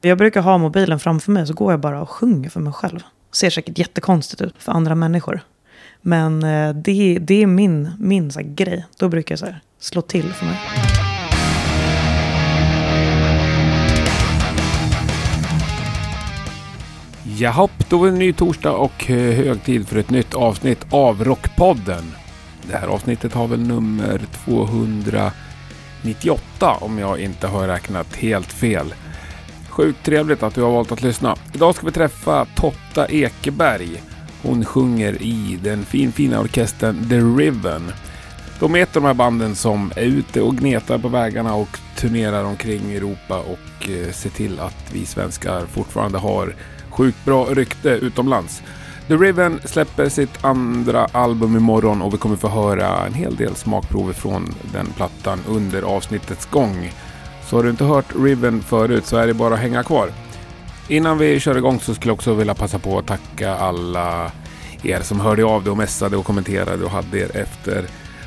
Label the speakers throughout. Speaker 1: Jag brukar ha mobilen framför mig så går jag bara och sjunger för mig själv. Ser säkert jättekonstigt ut för andra människor. Men eh, det, det är min, min så här, grej. Då brukar jag så här, slå till för mig.
Speaker 2: Jahopp, då är det en ny torsdag och eh, hög tid för ett nytt avsnitt av Rockpodden. Det här avsnittet har väl nummer 298 om jag inte har räknat helt fel. Sjukt trevligt att du har valt att lyssna. Idag ska vi träffa Totta Ekeberg. Hon sjunger i den finfina orkestern The Riven. De är ett av de här banden som är ute och gnetar på vägarna och turnerar omkring i Europa och eh, ser till att vi svenskar fortfarande har sjukt bra rykte utomlands. The Riven släpper sitt andra album imorgon och vi kommer få höra en hel del smakprover från den plattan under avsnittets gång. Så har du inte hört Riven förut så är det bara att hänga kvar. Innan vi kör igång så skulle jag också vilja passa på att tacka alla er som hörde av dig och messade och kommenterade och hade er efter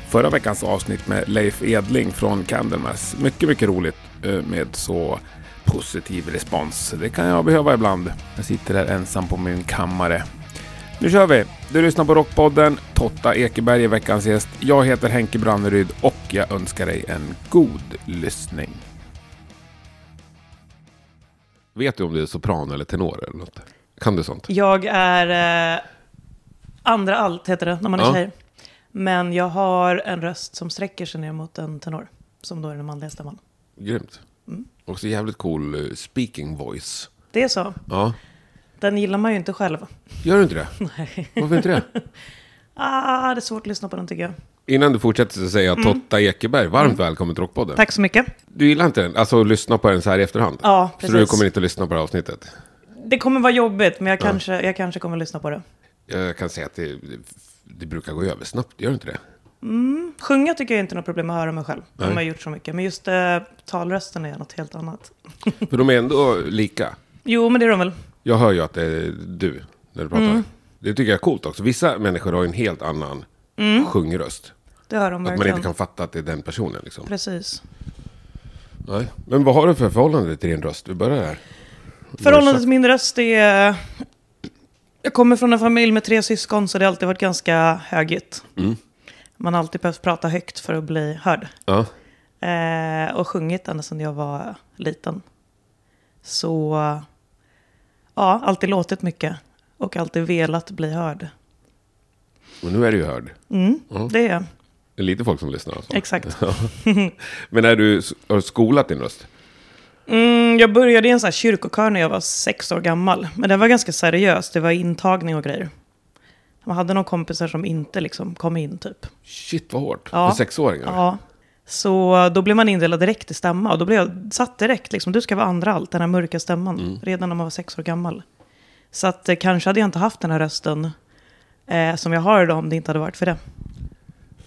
Speaker 2: förra veckans avsnitt med Leif Edling från Candlemass. Mycket, mycket roligt eh, med så positiv respons. Det kan jag behöva ibland. Jag sitter där ensam på min kammare. Nu kör vi! Du lyssnar på Rockpodden. Totta Ekeberg är veckans gäst. Jag heter Henke Branneryd och jag önskar dig en god lyssning.
Speaker 3: Vet du om du är sopran eller tenor eller något? Kan du sånt?
Speaker 1: Jag är eh, andra allt heter det när man är
Speaker 3: Ja.
Speaker 1: tjej. Men jag har en röst som sträcker sig ner mot en tenor. Som då är den manliga stämman.
Speaker 3: Grymt.
Speaker 1: Mm.
Speaker 3: Också jävligt cool eh, speaking voice.
Speaker 1: Det är så.
Speaker 3: Ja.
Speaker 1: Den gillar man ju inte själv.
Speaker 3: Gör du inte det? Varför inte det?
Speaker 1: Ah, det är svårt att lyssna på den tycker jag.
Speaker 3: Innan du fortsätter så säger jag
Speaker 1: Mm.
Speaker 3: Totta Ekeberg, varmt välkommen till Rockpodden.
Speaker 1: Tack så mycket.
Speaker 3: Du gillar inte den? Alltså att lyssna på den så här i efterhand?
Speaker 1: Ja,
Speaker 3: Så du
Speaker 1: precis.
Speaker 3: kommer inte att lyssna på det här avsnittet?
Speaker 1: Det kommer vara jobbigt, men jag kanske, jag kanske kommer lyssna på det.
Speaker 3: Jag kan säga att det, det brukar gå över snabbt, gör det inte det?
Speaker 1: Sjunga tycker jag inte är något problem att höra mig själv. De har jag gjort så mycket. Men just eh, talrösten är något helt annat.
Speaker 3: För de är ändå lika.
Speaker 1: Jo, men det är de väl.
Speaker 3: Jag hör ju att det är du när du pratar.
Speaker 1: Mm.
Speaker 3: Det tycker jag är coolt också. Vissa människor har ju en helt annan sjungröst.
Speaker 1: Det hör de
Speaker 3: Att man
Speaker 1: verkligen.
Speaker 3: inte kan fatta att det är den personen liksom.
Speaker 1: Precis.
Speaker 3: Nej. Men vad har du för förhållande till din röst? Vi börjar där.
Speaker 1: Förhållandet till min röst är... Jag kommer från en familj med tre syskon, så det har alltid varit ganska högljutt. Man har alltid behövt prata högt för att bli hörd.
Speaker 3: Ja.
Speaker 1: Eh, och sjungit ända sedan jag var liten. Så... Ja, alltid låtit mycket. Och alltid velat bli hörd.
Speaker 3: Men nu är du ju hörd.
Speaker 1: Det är
Speaker 3: Det är lite folk som lyssnar. Alltså.
Speaker 1: Exakt.
Speaker 3: Men är du, har du skolat din röst?
Speaker 1: Mm, jag började i en sån här kyrkokör när jag var sex år gammal. Men det var ganska seriöst. Det var intagning och grejer. Man hade några kompisar som inte liksom kom in typ.
Speaker 3: Shit vad hårt.
Speaker 1: Ja.
Speaker 3: För sexåringar.
Speaker 1: Ja. Så då blev man indelad direkt i stämma. Och då blev jag satt direkt liksom. Du ska vara andra allt, den här mörka stämman. Redan när man var sex år gammal. Så att eh, kanske hade jag inte haft den här rösten eh, som jag har idag om det inte hade varit för det.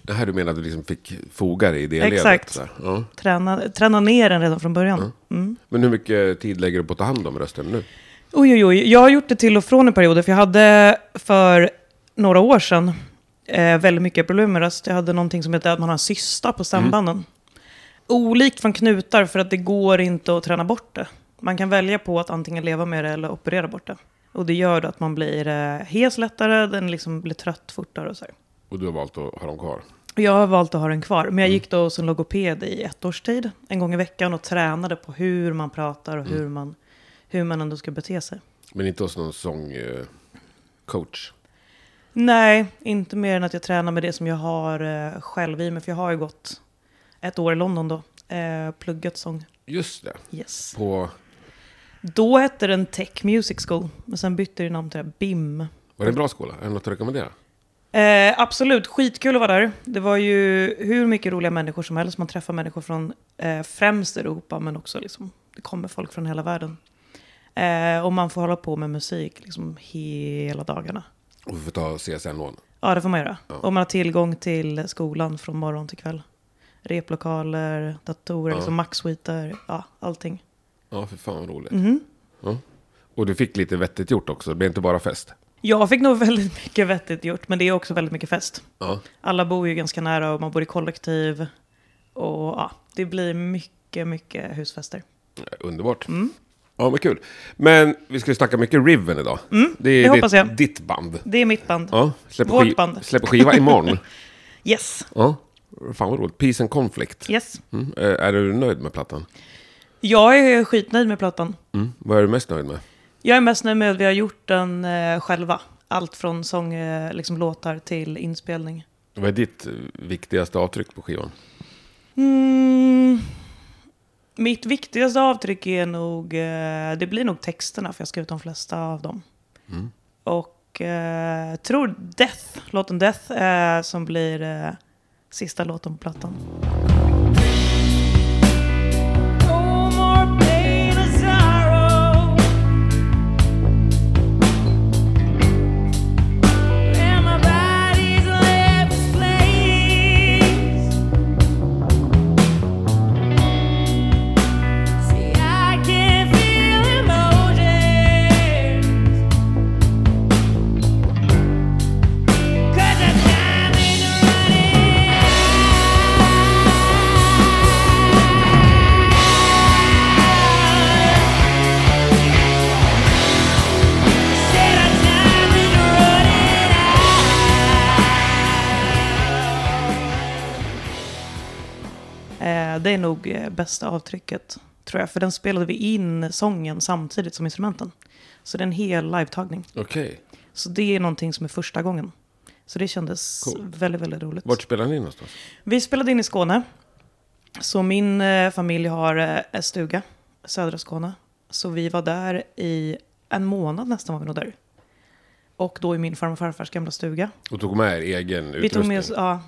Speaker 3: Det här du menar att du liksom fick foga dig i det
Speaker 1: Exakt.
Speaker 3: ledet? så här. Ja.
Speaker 1: Träna, träna ner den redan från början. Mm.
Speaker 3: Men hur mycket tid lägger du på att ta hand om rösten nu?
Speaker 1: Oj, oj, oj. Jag har gjort det till och från i perioder, för jag hade för några år sedan eh, väldigt mycket problem med röst. Jag hade någonting som heter att man har en cysta på stämbanden. Olikt från knutar, för att det går inte att träna bort det. Man kan välja på att antingen leva med det eller operera bort det. Och det gör då att man blir eh, hes lättare, den liksom blir trött fortare och så. här.
Speaker 3: Och du har valt att ha dem kvar?
Speaker 1: Och Jag har valt att ha den kvar, men jag gick då hos en logoped i ett års tid, en gång i veckan, och tränade på hur man pratar och hur man, hur man ändå ska bete sig.
Speaker 3: Men inte hos någon eh, sångcoach?
Speaker 1: Nej, inte mer än att jag tränar med det som jag har eh, själv i mig. För jag har ju gått ett år i London då. Eh, pluggat sång.
Speaker 3: Just det.
Speaker 1: Yes.
Speaker 3: På...
Speaker 1: Då hette den Tech Music School. Men sen bytte det namn till det här BIM.
Speaker 3: Var det en bra skola? Är det något att rekommendera?
Speaker 1: Eh, absolut, skitkul att vara där. Det var ju hur mycket roliga människor som helst. Man träffar människor från eh, främst Europa, men också liksom, det kommer folk från hela världen. Eh, och man får hålla på med musik liksom hela dagarna.
Speaker 3: Och vi får ta CSN-lån.
Speaker 1: Ja, det får man göra. Och man har tillgång till skolan från morgon till kväll. Replokaler, datorer, liksom maxsuiter, ja, allting.
Speaker 3: Ja, för fan vad roligt.
Speaker 1: Mm.
Speaker 3: Ja. Och du fick lite vettigt gjort också, det blev inte bara fest.
Speaker 1: Jag fick nog väldigt mycket vettigt gjort, men det är också väldigt mycket fest.
Speaker 3: Ja.
Speaker 1: Alla bor ju ganska nära och man bor i kollektiv. Och ja, det blir mycket, mycket husfester. Mm.
Speaker 3: Underbart. Ja, men kul. Men vi ska ju snacka mycket Riven idag. det är
Speaker 1: Mm, det hoppas
Speaker 3: ditt,
Speaker 1: jag.
Speaker 3: ditt band.
Speaker 1: Det är mitt band.
Speaker 3: Ja, släpper,
Speaker 1: Vårt band.
Speaker 3: släpper skiva imorgon.
Speaker 1: Yes,
Speaker 3: ja. Fan vad roligt. Peace and Conflict.
Speaker 1: yes.
Speaker 3: Mm. Eh, Är du nöjd med plattan?
Speaker 1: Jag är skitnöjd med plattan.
Speaker 3: Mm. Vad är du mest nöjd med?
Speaker 1: Jag är mest nöjd med att vi har gjort den eh, själva. Allt från sång, eh, liksom låtar till inspelning.
Speaker 3: Vad är ditt eh, viktigaste avtryck på skivan?
Speaker 1: Mm. Mitt viktigaste avtryck är nog, eh, det blir nog texterna, för jag har skrivit de flesta av dem. Och eh, tror Death, låten Death, eh, som blir eh, sista låten på plattan. Eh, det är nog eh, bästa avtrycket, tror jag. För den spelade vi in sången samtidigt som instrumenten. Så det är en hel livetagning.
Speaker 3: Okej.
Speaker 1: Så det är någonting som är första gången. Så det kändes väldigt, väldigt roligt.
Speaker 3: Vart spelar ni någonstans?
Speaker 1: Vi spelade in i Skåne. Så min eh, familj har eh, en stuga, södra Skåne. Så vi var där i en månad nästan var vi nog där. Och då i min farmor och farfars gamla stuga.
Speaker 3: Och tog med er egen utrustning?
Speaker 1: Vi tog med oss, ja.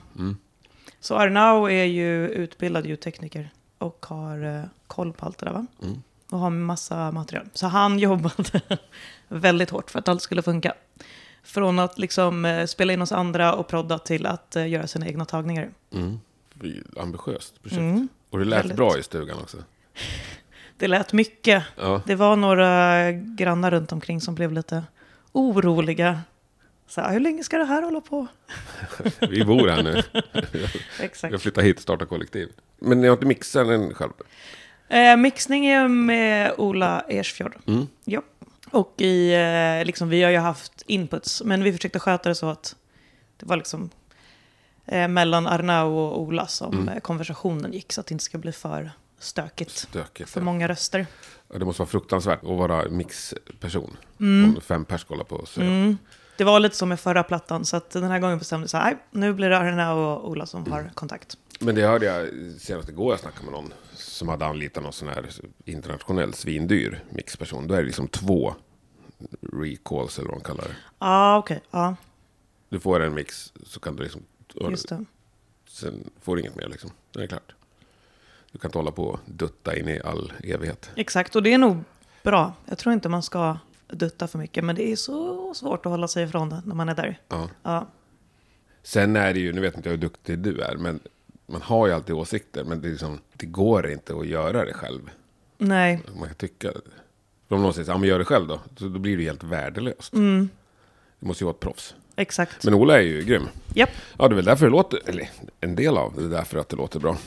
Speaker 1: Så Arnau är ju utbildad ljudtekniker och har eh, koll på allt det där va? Och har massa material. Så han jobbade väldigt hårt för att allt skulle funka. Från att liksom eh, spela in oss andra och prodda till att eh, göra sina egna tagningar.
Speaker 3: Mm. Fy, Ambitiöst projekt.
Speaker 1: Mm.
Speaker 3: Och det lät
Speaker 1: Väldigt.
Speaker 3: bra i stugan också.
Speaker 1: Det lät mycket.
Speaker 3: Ja.
Speaker 1: Det var några grannar runt omkring som blev lite oroliga. Så här, hur länge ska det här hålla på?
Speaker 3: Vi bor här nu. Jag
Speaker 1: Exakt.
Speaker 3: flyttar hit och startar kollektiv. Men ni har inte mixat den själv?
Speaker 1: Eh, mixning är med Ola Ersfjord.
Speaker 3: Mm.
Speaker 1: Ja. Och i, eh, liksom, vi har ju haft inputs, men vi försökte sköta det så att det var liksom eh, mellan Arnau och Ola som eh, konversationen gick, så att det inte ska bli för stökigt.
Speaker 3: Stökigt.
Speaker 1: För många röster.
Speaker 3: Ja, Det måste vara fruktansvärt att vara mixperson.
Speaker 1: Mm.
Speaker 3: Om fem pers kollar på oss.
Speaker 1: Det var lite som med förra plattan, så att den här gången bestämde jag att nu blir det Arnau och Ola som har kontakt.
Speaker 3: Men det hörde jag senast igår jag snackade med någon som hade anlitat någon sån här internationell svindyr mixperson. Då är det liksom två recalls eller vad de kallar det.
Speaker 1: Ja, okej. Ja,
Speaker 3: Du får en mix så kan du liksom...
Speaker 1: just det.
Speaker 3: Sen får du inget mer liksom. Det är klart. Du kan inte hålla på och dutta in i all evighet.
Speaker 1: Exakt, och det är nog bra. Jag tror inte man ska dutta för mycket, men det är så svårt att hålla sig ifrån det när man är där.
Speaker 3: Ja.
Speaker 1: Ja,
Speaker 3: Sen är det ju, nu vet inte jag hur duktig du är, men man har ju alltid åsikter. Men det, är liksom, det går inte att göra det själv.
Speaker 1: nej.
Speaker 3: Man kan tycka... För Om någon säger så, ja, men gör det själv då, så då blir det helt värdelöst. Det måste ju vara ett proffs.
Speaker 1: Exakt.
Speaker 3: Men Ola är ju grym.
Speaker 1: Japp.
Speaker 3: Ja, det är väl därför det låter, eller en del av det är därför att det låter bra.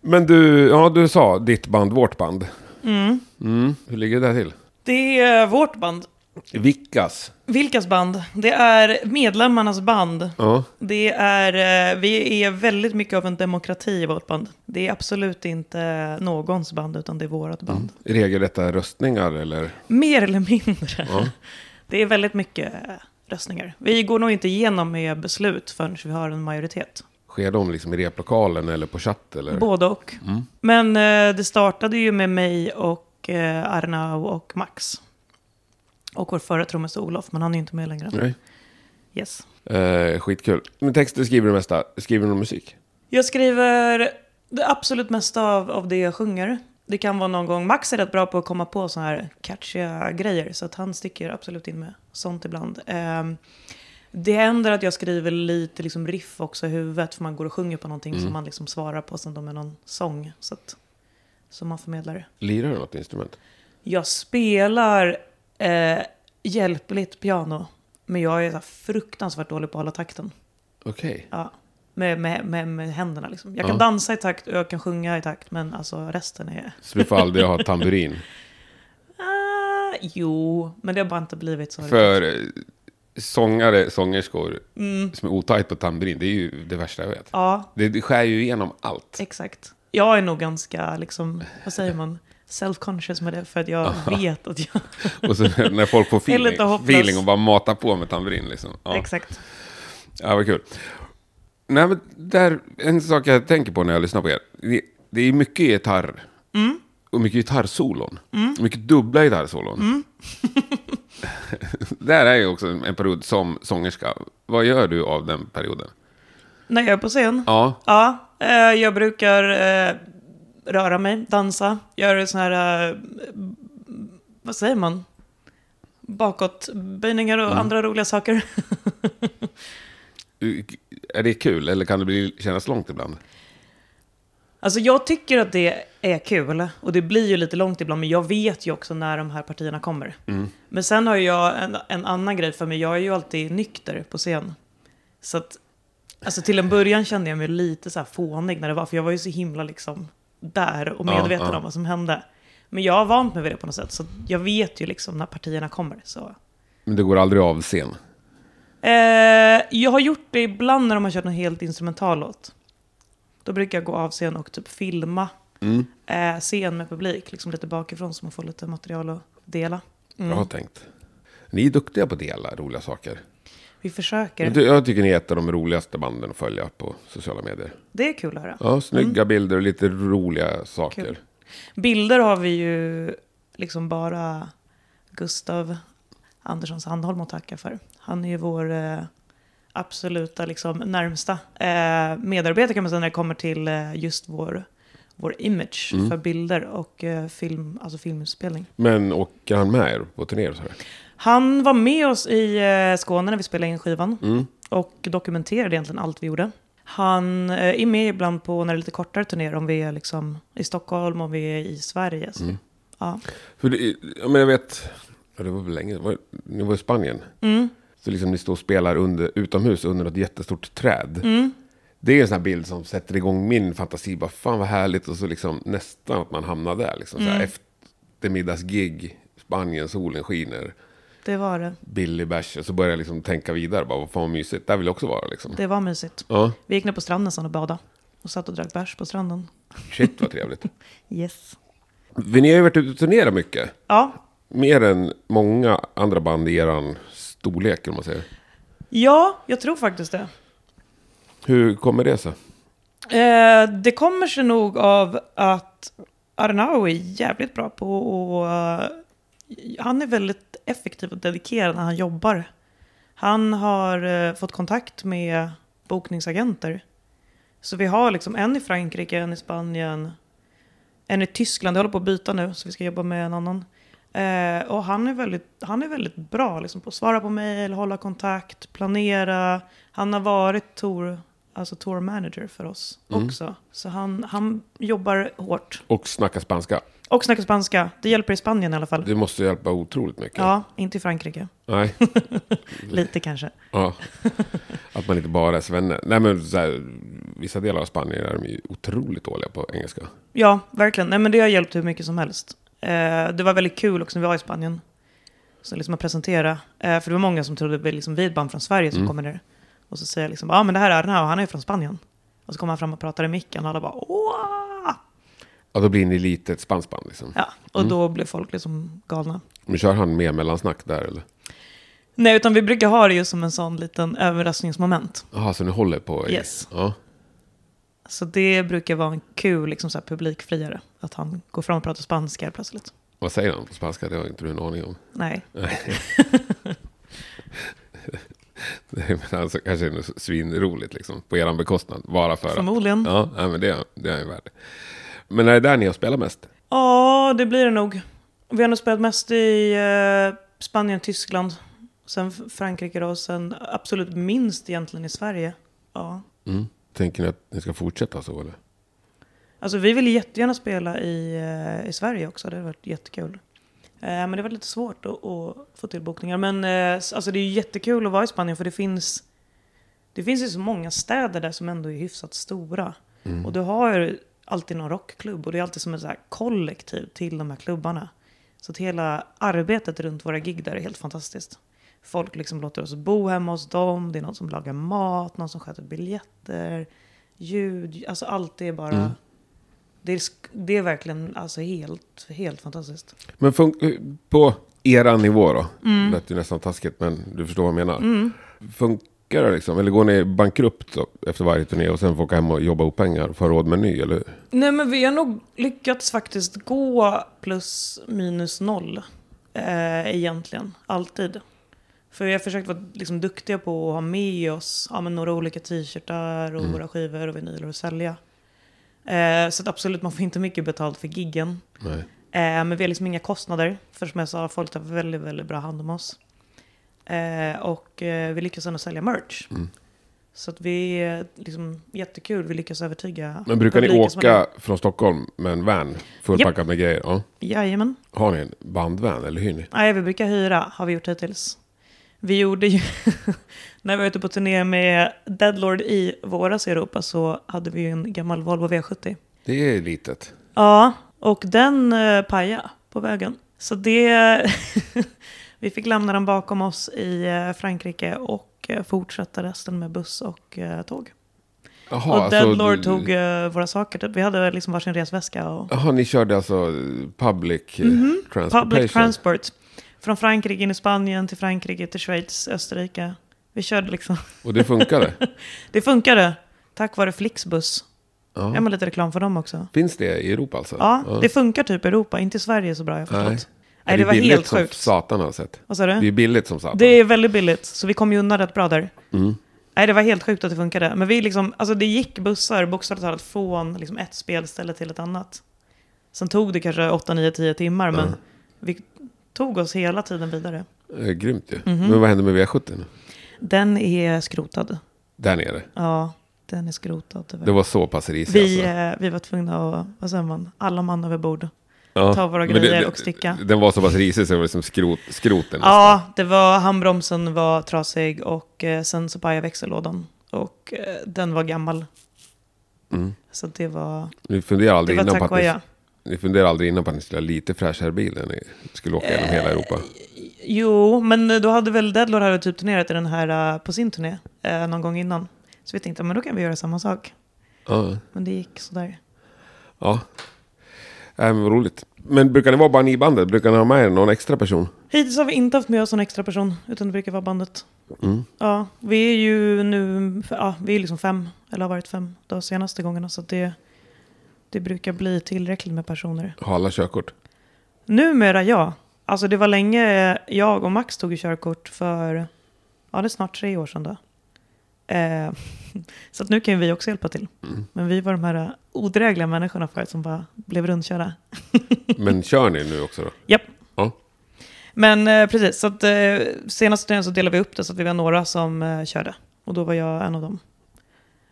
Speaker 3: Men du, ja du sa ditt band, vårt band. Mm, hur ligger det där till?
Speaker 1: Det är vårt band.
Speaker 3: Vickas.
Speaker 1: Vilkas band? Det är medlemmarnas band.
Speaker 3: Ja.
Speaker 1: Det är, eh, vi är väldigt mycket av en demokrati i vårt band. Det är absolut inte någons band, utan det är vårt band.
Speaker 3: Mm. Regelrätta röstningar eller?
Speaker 1: Mer eller mindre. Det är väldigt mycket eh, röstningar. Vi går nog inte igenom med beslut förrän vi har en majoritet.
Speaker 3: Sker de liksom i replokalen eller på chatt eller?
Speaker 1: Både och. Men eh, det startade ju med mig och eh, Arnau och Max. Och vår förra trummis Olof, men han är ju inte med längre.
Speaker 3: Nej.
Speaker 1: Yes.
Speaker 3: Eh, skitkul. Men texter skriver du det mesta. Skriver du någon musik?
Speaker 1: Jag skriver det absolut mesta av, av det jag sjunger. Det kan vara någon gång, Max är rätt bra på att komma på sådana här catchiga grejer, så att han sticker absolut in med sånt ibland. Ehm, det händer att jag skriver lite liksom riff också i huvudet, för man går och sjunger på någonting som man liksom svarar på som de är någon sång, så att, som man förmedlar det.
Speaker 3: Lirar du något instrument?
Speaker 1: Jag spelar eh, hjälpligt piano, men jag är så här fruktansvärt dålig på att hålla takten.
Speaker 3: Okej.
Speaker 1: Ja. Med, med, med, med händerna liksom. Jag
Speaker 3: Ja.
Speaker 1: kan dansa i takt och jag kan sjunga i takt, men alltså resten är...
Speaker 3: Så du får aldrig ha tamburin?
Speaker 1: ah, Jo, men det har bara inte blivit så.
Speaker 3: För eh, sångare, sångerskor
Speaker 1: Mm.
Speaker 3: som är otajt på tamburin, det är ju det värsta jag vet.
Speaker 1: Ja,
Speaker 3: Det, det skär ju igenom allt.
Speaker 1: Exakt. Jag är nog ganska, liksom, vad säger man, self-conscious med det, för att jag vet att jag...
Speaker 3: Och så när folk får
Speaker 1: Eller
Speaker 3: feeling,
Speaker 1: lite hopplös.
Speaker 3: feeling och bara matar på med tamburin liksom. Ja,
Speaker 1: Exakt.
Speaker 3: ja vad kul. Nej, men där, en sak jag tänker på när jag lyssnar på er, det, det är mycket gitarr. Och mycket gitarrsolon. Mycket dubbla gitarrsolon. där är ju också en en period som sångerska. Vad gör du av den perioden?
Speaker 1: När jag är på scen?
Speaker 3: Ja,
Speaker 1: Ja, eh, jag brukar eh, röra mig, dansa, göra sån här, eh, vad säger man? Bakåtböjningar och andra roliga saker.
Speaker 3: Är det kul eller kan det bli, kännas långt ibland?
Speaker 1: Alltså jag tycker att det är kul och det blir ju lite långt ibland men jag vet ju också när de här partierna kommer.
Speaker 3: Mm.
Speaker 1: Men sen har ju jag en, en annan grej för mig, jag är ju alltid nykter på scen. Så att, alltså till en början kände jag mig lite så här fånig när det var, för jag var ju så himla liksom där och
Speaker 3: Ja,
Speaker 1: medveten
Speaker 3: ja.
Speaker 1: om vad som hände. Men jag har vant mig vid det på något sätt, så jag vet ju liksom när partierna kommer. Så.
Speaker 3: Men det går aldrig av scen.
Speaker 1: Eh, jag har gjort det ibland när de har kört en helt instrumental låt. Då brukar jag gå av scen och typ filma eh, scen med publik, liksom lite bakifrån så man får lite material att dela.
Speaker 3: Jag har tänkt. Ni är duktiga på att dela roliga saker.
Speaker 1: Vi försöker.
Speaker 3: Jag ty- Jag tycker ni är ett av de roligaste banden att följa på sociala medier.
Speaker 1: Det är kul att höra.
Speaker 3: Ja, snygga bilder och lite roliga saker.
Speaker 1: Kul. Bilder har vi ju liksom bara Gustav Anderssons Sandholm att tacka för. Han är ju vår eh, absoluta liksom, närmsta eh, medarbetare kan man säga när det kommer till eh, just vår, vår image för bilder och eh, film, alltså filminspelning.
Speaker 3: Men åker han med er på turnéer och så här?
Speaker 1: Han var med oss i eh, Skåne när vi spelade in skivan och dokumenterade egentligen allt vi gjorde. Han eh, är med ibland på när det är lite kortare turnéer, om vi är liksom i Stockholm, om vi är i Sverige. Så. Ja.
Speaker 3: För det, ja, men jag vet, ja, det var väl länge, var, ni var i Spanien.
Speaker 1: Mm.
Speaker 3: Så liksom ni står och spelar under, utomhus under något jättestort träd.
Speaker 1: Mm.
Speaker 3: Det är en sån här bild som sätter igång min fantasi. Bara, fan vad härligt. Och så liksom nästan att man hamnar där. Liksom, så här,
Speaker 1: Mm.
Speaker 3: eftermiddagsgig, Spanien, solen skiner,
Speaker 1: Det var det.
Speaker 3: billig bärs. Och Så börjar jag liksom tänka vidare. Bara, vad fan vad mysigt, där vill jag också vara. Liksom.
Speaker 1: Det var mysigt.
Speaker 3: Ja,
Speaker 1: Vi gick ner på stranden sen och badade. Och satt och drack bärs på stranden.
Speaker 3: shit vad trevligt.
Speaker 1: Yes.
Speaker 3: Men ni har ju varit ute och turnerat mycket.
Speaker 1: Ja.
Speaker 3: Mer än många andra band i eran storlek, om man säger.
Speaker 1: Ja, jag tror faktiskt det.
Speaker 3: Hur kommer det sig?
Speaker 1: Eh, det kommer sig nog av att Arnau är jävligt bra på och Han är väldigt effektiv och dedikerad när han jobbar. Han har eh, fått kontakt med bokningsagenter. Så vi har liksom en i Frankrike, en i Spanien, en i Tyskland. Jag håller på att byta nu, så vi ska jobba med en annan. Eh, och han är väldigt, han är väldigt bra liksom, på att svara på mejl, hålla kontakt, planera. Han har varit tour, alltså tour manager för oss
Speaker 3: Mm.
Speaker 1: också. Så han, han jobbar hårt.
Speaker 3: Och snacka spanska.
Speaker 1: Och snackar spanska. Det hjälper i Spanien i alla fall.
Speaker 3: Det måste hjälpa otroligt mycket.
Speaker 1: Ja, inte i Frankrike.
Speaker 3: Nej.
Speaker 1: Lite kanske.
Speaker 3: Ja. Att man inte bara är svenne. Nej, men så här, vissa delar av Spanien är de ju otroligt dåliga på engelska.
Speaker 1: Ja, verkligen. Nej, men det har hjälpt hur mycket som helst. Eh, det var väldigt kul också när vi var i Spanien. Så liksom att presentera. Eh, för det var många som trodde att vi liksom, vi är ett band från Sverige som kommer ner. Och så säger jag liksom, ja ah, men det här är den här och han är från Spanien. Och så kommer han fram och pratar i micken och alla bara, åh!
Speaker 3: Ja, då blir ni lite ett spanskt band liksom.
Speaker 1: Ja, och då blev folk liksom galna.
Speaker 3: Men kör han med mellansnack där eller?
Speaker 1: Nej, utan vi brukar ha det ju som en sån liten överraskningsmoment.
Speaker 3: Jaha, så ni håller på?
Speaker 1: Yes.
Speaker 3: Ja.
Speaker 1: Så det brukar vara en kul liksom, så här, publikfriare. Att han går fram och pratar spanska helt plötsligt.
Speaker 3: Vad säger han på spanska? Det har inte du en aning om.
Speaker 1: Nej,
Speaker 3: Nej, men alltså, kanske är det något svinroligt liksom. På eran bekostnad. Bara för att.
Speaker 1: förmodligen.
Speaker 3: Ja, nej, men det, det är ju värd. Men är det där ni har spelat mest?
Speaker 1: Ja, det blir det nog. Vi har nog spelat mest i eh, Spanien, Tyskland, sen F- Frankrike då, och sen absolut minst egentligen i Sverige. Ja.
Speaker 3: Mm. Tänker ni att ni ska fortsätta så eller?
Speaker 1: Alltså vi ville jättegärna spela i, eh, i Sverige också, det hade varit jättekul. Eh, men det var lite svårt att, att få till bokningar. Men eh, s- alltså det är ju jättekul att vara i Spanien för det finns, det finns ju så många städer där som ändå är hyfsat stora. Och du har ju alltid någon rockklubb och det är alltid som ett så här kollektiv till de här klubbarna. Så att hela arbetet runt våra gig där är helt fantastiskt. Folk liksom låter oss bo hemma hos dem, det är någon som lagar mat, någon som sköter biljetter, ljud, alltså allt är bara... Det, är, sk- det är verkligen alltså helt, helt fantastiskt.
Speaker 3: Men fun- eh, på era nivå då?
Speaker 1: Mm.
Speaker 3: Det lät ju nästan taskigt, men du förstår vad jag menar. Funkar det liksom? Eller går ni bankrupt då, efter varje turné och sen får åka hem och jobba ihop pengar och få råd med en ny? Eller?
Speaker 1: Nej, men vi har nog lyckats faktiskt gå plus minus noll eh, egentligen, alltid. För vi har försökt vara liksom, duktiga på att ha med oss ja, men några olika t-shirtar och våra skivor och vinyler att sälja. Eh, så att absolut, man får inte mycket betalt för giggen.
Speaker 3: Nej.
Speaker 1: Eh, men vi har liksom inga kostnader. För som jag sa, folk tar väldigt, väldigt bra hand om oss. Eh, och eh, vi lyckas ändå sälja merch.
Speaker 3: Mm.
Speaker 1: Så att vi är liksom, jättekul, vi lyckas övertyga
Speaker 3: Men brukar ni
Speaker 1: publiken som har-
Speaker 3: åka från Stockholm med en van fullpackad med grejer? Ja.
Speaker 1: Jajamän.
Speaker 3: Har ni en bandvan eller hyr ni?
Speaker 1: Nej, vi brukar hyra, har vi gjort hittills. Vi gjorde ju... när vi var ute på turné med Deadlord i våras i Europa så hade vi ju en gammal Volvo V70.
Speaker 3: Det är litet.
Speaker 1: Ja, och den eh, pajade på vägen. Så det... vi fick lämna den bakom oss i eh, Frankrike och eh, fortsätta resten med buss och eh, tåg.
Speaker 3: Jaha, alltså,
Speaker 1: och Deadlord tog eh, våra saker. Typ. Vi hade liksom varsin resväska och
Speaker 3: Jaha, ni körde alltså public eh, transportation?
Speaker 1: Mhm. Public transport. Från Frankrike in i Spanien till Frankrike till Schweiz, Österrike. Vi körde liksom.
Speaker 3: och det funkade?
Speaker 1: Det funkade. Tack vare Flixbus.
Speaker 3: Ja.
Speaker 1: Ja, men lite reklam för dem också.
Speaker 3: Finns det i Europa alltså?
Speaker 1: Ja, det funkar typ i Europa. Inte i Sverige så bra, jag har
Speaker 3: Nej.
Speaker 1: förstått. Nej,
Speaker 3: Ja,
Speaker 1: det, var
Speaker 3: billigt
Speaker 1: helt
Speaker 3: som
Speaker 1: sjukt.
Speaker 3: satan har jag sett.
Speaker 1: Vad sa du?
Speaker 3: Det är billigt som satan.
Speaker 1: Det är väldigt billigt, så vi kom ju undan rätt bra där.
Speaker 3: Mm.
Speaker 1: Nej, det var helt sjukt att det funkade. Men vi liksom, alltså det gick bussar bokstavligt talat från liksom ett spelställe till ett annat. Sen tog det kanske 8, 9, 10 timmar, men vi tog oss hela tiden vidare.
Speaker 3: Eh, Grymt ju.
Speaker 1: Mhm.
Speaker 3: Men vad hände med V70 nu?
Speaker 1: Den är skrotad.
Speaker 3: Där nere.
Speaker 1: Ja, den är skrotad tyvärr.
Speaker 3: Det var så pass risigt
Speaker 1: vi,
Speaker 3: alltså.
Speaker 1: eh, vi var tvungna att, vad säger man, alla man över bord.
Speaker 3: Ja.
Speaker 1: ta våra
Speaker 3: Men det-
Speaker 1: grejer
Speaker 3: det-
Speaker 1: och sticka.
Speaker 3: Den var så pass risig så det var liksom skrot, skroten.
Speaker 1: Ja, det var, handbromsen var trasig och eh, sen så pajade växellådan. Och eh, den var gammal.
Speaker 3: Mm.
Speaker 1: Så det var,
Speaker 3: Ni funderar
Speaker 1: det
Speaker 3: aldrig
Speaker 1: var
Speaker 3: innan
Speaker 1: tack
Speaker 3: på att
Speaker 1: vare
Speaker 3: ni
Speaker 1: jag.
Speaker 3: Ni funderar aldrig innan på att ni skulle ha lite fräschare bil när ni skulle åka genom hela Europa?
Speaker 1: Jo, men eh, då hade väl Deadlord hade typ turnerat i den här eh, på sin turné eh, någon gång innan. Så vi tänkte, men då kan vi göra samma sak.
Speaker 3: Ja.
Speaker 1: Men det gick sådär.
Speaker 3: ja. Nej, men vad roligt. Men brukar ni vara bara ni i bandet? Brukar ni ha med er någon extra person?
Speaker 1: Hittills har vi inte haft med oss en extra person, utan det brukar vara bandet.
Speaker 3: Mm.
Speaker 1: Ja, vi är ju nu, ja, vi är liksom fem, eller har varit fem de senaste gångerna, så att det, det brukar bli tillräckligt med personer.
Speaker 3: Har alla körkort?
Speaker 1: Numera ja. Alltså det var länge jag och Max tog ju körkort för, ja det är snart tre år sedan då. Eh, så att nu kan ju vi också hjälpa till. Men vi var de här odrägliga människorna förut som bara blev rundkörda.
Speaker 3: Men kör ni nu också då?
Speaker 1: Japp.
Speaker 3: Ja.
Speaker 1: Men eh, precis, så att eh, senaste turnén så delade vi upp det så att vi var några som eh, körde. Och då var jag en av dem.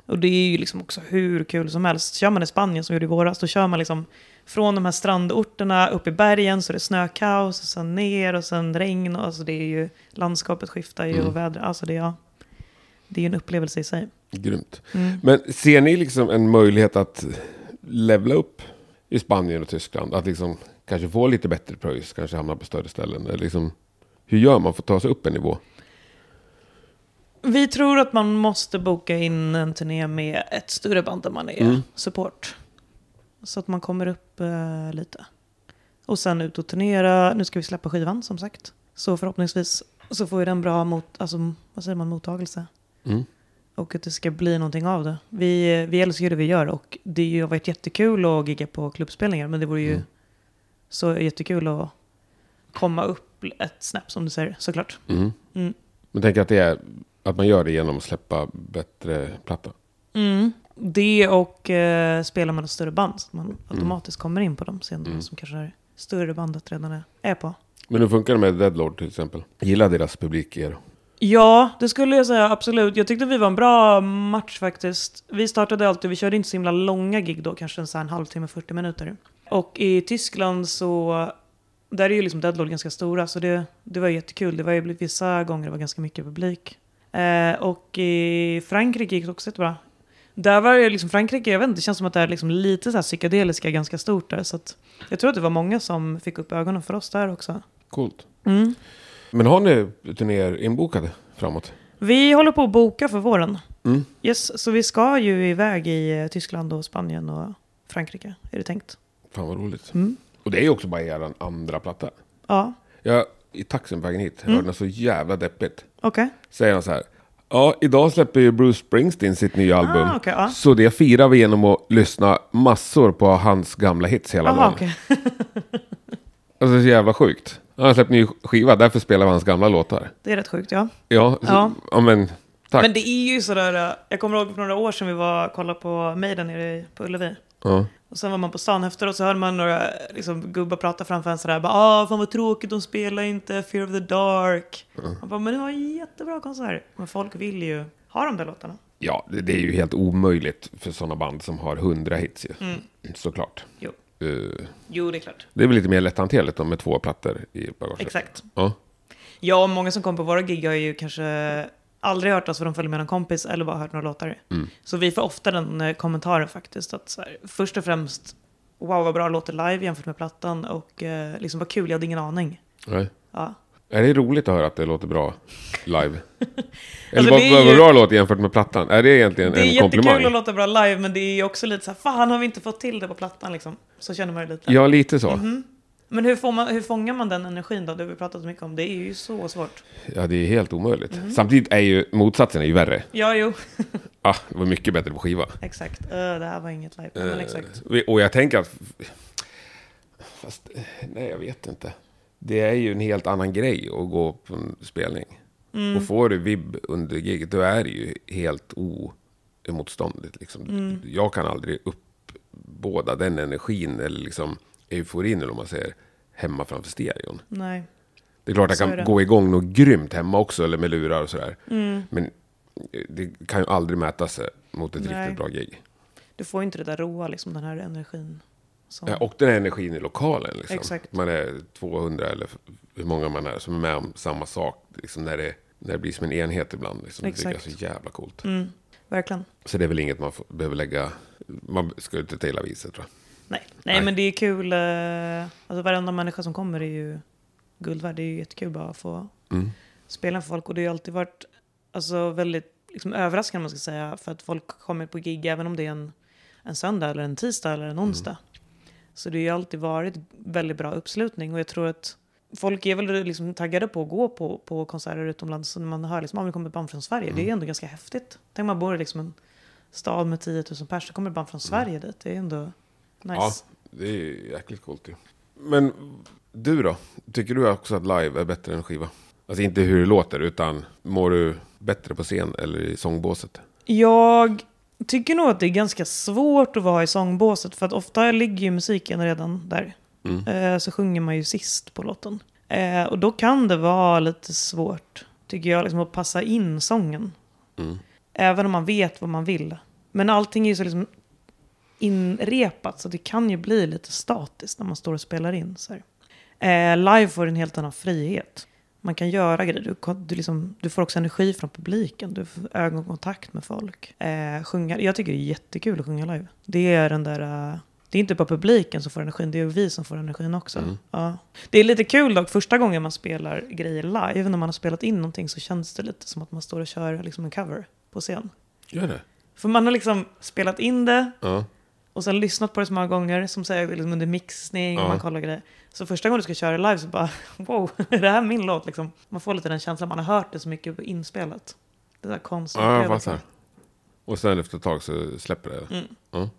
Speaker 1: Och det är ju liksom också hur kul som helst. Kör man i Spanien som vi gjorde i våras, då kör man liksom från de här strandorterna upp i bergen så det är snökaos, och sen ner och sen regn. Och alltså det är ju, landskapet skiftar ju och vädret, alltså det är, ja, det är ju en upplevelse i sig.
Speaker 3: Grymt.
Speaker 1: Mm.
Speaker 3: Men ser ni liksom en möjlighet att levla upp i Spanien och Tyskland? Att liksom kanske få lite bättre pröjs, kanske hamna på större ställen? Eller liksom, hur gör man för att ta sig upp en nivå?
Speaker 1: Vi tror att man måste boka in en turné med ett större band där man är support. Så att man kommer upp eh, lite. Och sen ut och turnera. Nu ska vi släppa skivan som sagt. Så förhoppningsvis så får ju den bra mot, alltså, vad säger man, mottagelse.
Speaker 3: Mm.
Speaker 1: Och att det ska bli någonting av det. Vi, vi älskar ju det vi gör och det har ju varit jättekul att gigga på klubbspelningar. Men det vore ju så jättekul att komma upp ett snäpp som du säger, såklart.
Speaker 3: Mm.
Speaker 1: Mm.
Speaker 3: Men tänk att, det är, att man gör det genom att släppa bättre platta.
Speaker 1: Mm. Det och eh, spela med något större band så att man automatiskt kommer in på de scenerna som kanske det större bandet redan är, är på.
Speaker 3: Men hur funkar det med Deadlord till exempel? Gillar deras publik er?
Speaker 1: Ja, det skulle jag säga absolut. Jag tyckte vi var en bra match faktiskt. Vi startade alltid, vi körde inte så himla långa gig då, kanske en, så här en halvtimme, 40 minuter. Och i Tyskland så, där är ju liksom Deadlord ganska stora, så det, det var jättekul. Det var ju blivit- vissa gånger det var ganska mycket publik. Eh, och i Frankrike gick det också jättebra. Där var det liksom Frankrike, jag vet inte, det känns som att det är liksom lite så här psykedeliska ganska stort där. Så att jag tror att det var många som fick upp ögonen för oss där också.
Speaker 3: Coolt.
Speaker 1: Mm.
Speaker 3: Men har ni turnéer inbokade framåt?
Speaker 1: Vi håller på att boka för våren.
Speaker 3: Mm.
Speaker 1: Yes, så vi ska ju iväg i eh, Tyskland och Spanien och Frankrike, är det tänkt.
Speaker 3: Fan vad roligt.
Speaker 1: Mm.
Speaker 3: Och det är ju också bara er andra platta.
Speaker 1: Ja,
Speaker 3: Jag, I taxin på vägen hit
Speaker 1: Mm.
Speaker 3: hörde något så jävla deppigt.
Speaker 1: okej.
Speaker 3: Säger han så här. Ja, idag släpper ju Bruce Springsteen sitt nya album.
Speaker 1: Ah, okej, ja.
Speaker 3: Så det firar vi genom att lyssna massor på hans gamla hits hela
Speaker 1: Jaha,
Speaker 3: dagen.
Speaker 1: okej.
Speaker 3: Alltså det är så jävla sjukt. Han har släppt ny skiva, därför spelar vi hans gamla låtar.
Speaker 1: Det är rätt sjukt, ja.
Speaker 3: Ja, så,
Speaker 1: Ja.
Speaker 3: ja. men tack.
Speaker 1: Men det är ju sådär, eh, jag kommer ihåg för några år sedan vi var och kollade på Maiden nere i- på Ullevi.
Speaker 3: ja.
Speaker 1: Och sen var man på stan efteråt så hörde man några liksom, gubbar prata framför en sådär. bara, Ah, fan vad tråkigt, de spelar inte Fear of the Dark. Man bara, men det var en jättebra konsert. Men folk vill ju ha de där låtarna.
Speaker 3: ja, det det är ju helt omöjligt för sådana band som har hundra hits ju.
Speaker 1: Mm.
Speaker 3: Såklart.
Speaker 1: Jo,
Speaker 3: Eh,
Speaker 1: jo det är klart.
Speaker 3: det är väl lite mer lätthanterligt om med två plattor i bagaget.
Speaker 1: Exakt.
Speaker 3: Ja.
Speaker 1: Ja, och många som kom på våra gig har ju kanske aldrig hört oss för de följer med någon kompis eller bara hört några låtar.
Speaker 3: Mm.
Speaker 1: Så vi får ofta den eh, kommentaren faktiskt. Att så här, först och främst, wow vad bra låter live jämfört med plattan och eh, liksom vad kul, jag hade ingen aning.
Speaker 3: Nej.
Speaker 1: Ja.
Speaker 3: Är det roligt att höra att det låter bra live? Eller
Speaker 1: Alltså,
Speaker 3: vad
Speaker 1: det är
Speaker 3: vad
Speaker 1: ju-
Speaker 3: bra låt jämfört med plattan? Är det egentligen
Speaker 1: Det är
Speaker 3: en komplimang?
Speaker 1: jättekul att låta bra live, men det är ju också lite så här, fan har vi inte fått till det på plattan liksom? Så känner man ju lite.
Speaker 3: Ja, lite så.
Speaker 1: Mhm. Men hur, får man, hur fångar man den energin då? Det har vi pratat så mycket om, det är ju så svårt.
Speaker 3: Ja, det är helt omöjligt.
Speaker 1: Mhm.
Speaker 3: Samtidigt är ju motsatsen är ju värre.
Speaker 1: Ja, jo,
Speaker 3: Ah, det var mycket bättre på skiva.
Speaker 1: exakt. Ö, det här var inget live, men exakt.
Speaker 3: Eh, Och jag tänker att... Fast, eh, nej, jag vet inte. Det är ju en helt annan grej att gå på en spelning.
Speaker 1: Mm.
Speaker 3: Och får du vibb under giget, då är det ju helt oemotståndligt. Liksom.
Speaker 1: Mm.
Speaker 3: Jag kan aldrig uppbåda den energin eller liksom euforin, eller vad man säger, hemma framför stereon.
Speaker 1: Nej.
Speaker 3: Det är klart jag
Speaker 1: Så är det.
Speaker 3: kan gå igång något grymt hemma också, eller med lurar och sådär.
Speaker 1: Mm.
Speaker 3: Men eh, det kan ju aldrig mäta sig mot ett
Speaker 1: Nej.
Speaker 3: riktigt bra gig.
Speaker 1: Du får ju inte det där råa, liksom den här energin. Som...
Speaker 3: Ja, och den här energin i lokalen. Liksom.
Speaker 1: Exakt.
Speaker 3: Man är 200 eller f- hur många man är som är med om samma sak. Liksom, när, det, när det blir som en enhet ibland. Liksom. Det tycker jag är
Speaker 1: Exakt.
Speaker 3: så jävla coolt.
Speaker 1: Mm, verkligen.
Speaker 3: Så det är väl inget man får, behöver lägga... Man ska ju inte ta illa viset tror jag.
Speaker 1: Nej. Nej, men det är kul. eh, Alltså varenda människa som kommer är ju guld värd. Det är ju jättekul bara att få
Speaker 3: Mm.
Speaker 1: spela för folk. Och det har ju alltid varit alltså, väldigt liksom, överraskande, om man ska säga. För att folk kommer på gig, även om det är en, en söndag eller en tisdag eller
Speaker 3: Mm.
Speaker 1: en onsdag. Så det har ju alltid varit väldigt bra uppslutning. Och jag tror att folk är väl liksom taggade på att gå på, på konserter utomlands. Så när man hör liksom, att det kommer ett band från Sverige,
Speaker 3: Mm.
Speaker 1: det är ändå ganska häftigt. Tänk man bor i liksom en stad med 10 000 pers, så kommer ett band från Sverige dit. Det är ändå
Speaker 3: Mm. Ja,
Speaker 1: nice.
Speaker 3: det är ju jäkligt coolt ju. Men du då? Tycker du också att live är bättre än skiva? Alltså inte hur det låter, utan mår du bättre på scen eller i sångbåset?
Speaker 1: Jag tycker nog att det är ganska svårt att vara i sångbåset för att ofta ligger ju musiken redan där. Eh, Så sjunger man ju sist på låten. Eh, Och då kan det vara lite svårt, tycker jag, liksom att passa in sången. Även om man vet vad man vill. Men allting är ju så liksom inrepat så det kan ju bli lite statiskt när man står och spelar in. Så här. Eh, live får du en helt annan frihet. Man kan göra grejer. Du, kan- du, liksom, du får också energi från publiken. Du får ögonkontakt med folk. Eh, sjunga. Jag tycker det är jättekul att sjunga live. Det är den där... eh, det är inte bara publiken som får energin, det är vi som får energin också. Ja. Det är lite kul dock, första gången man spelar grejer live, när man har spelat in någonting så känns det lite som att man står och kör liksom en cover på scen.
Speaker 3: Gör det?
Speaker 1: För man har liksom spelat in det,
Speaker 3: Ja.
Speaker 1: och sen lyssnat på det så många gånger, som säger liksom under mixning,
Speaker 3: Ja.
Speaker 1: man kollar grejer. Så första gången du ska köra live så bara, wow, är det här min låt liksom? Man får lite den känslan, man har hört det så mycket på inspelat. Det där konstiga.
Speaker 3: Ja, jag
Speaker 1: upplevelsen.
Speaker 3: fattar. Och sen efter ett tag så släpper det?
Speaker 1: Mm.
Speaker 3: Ja.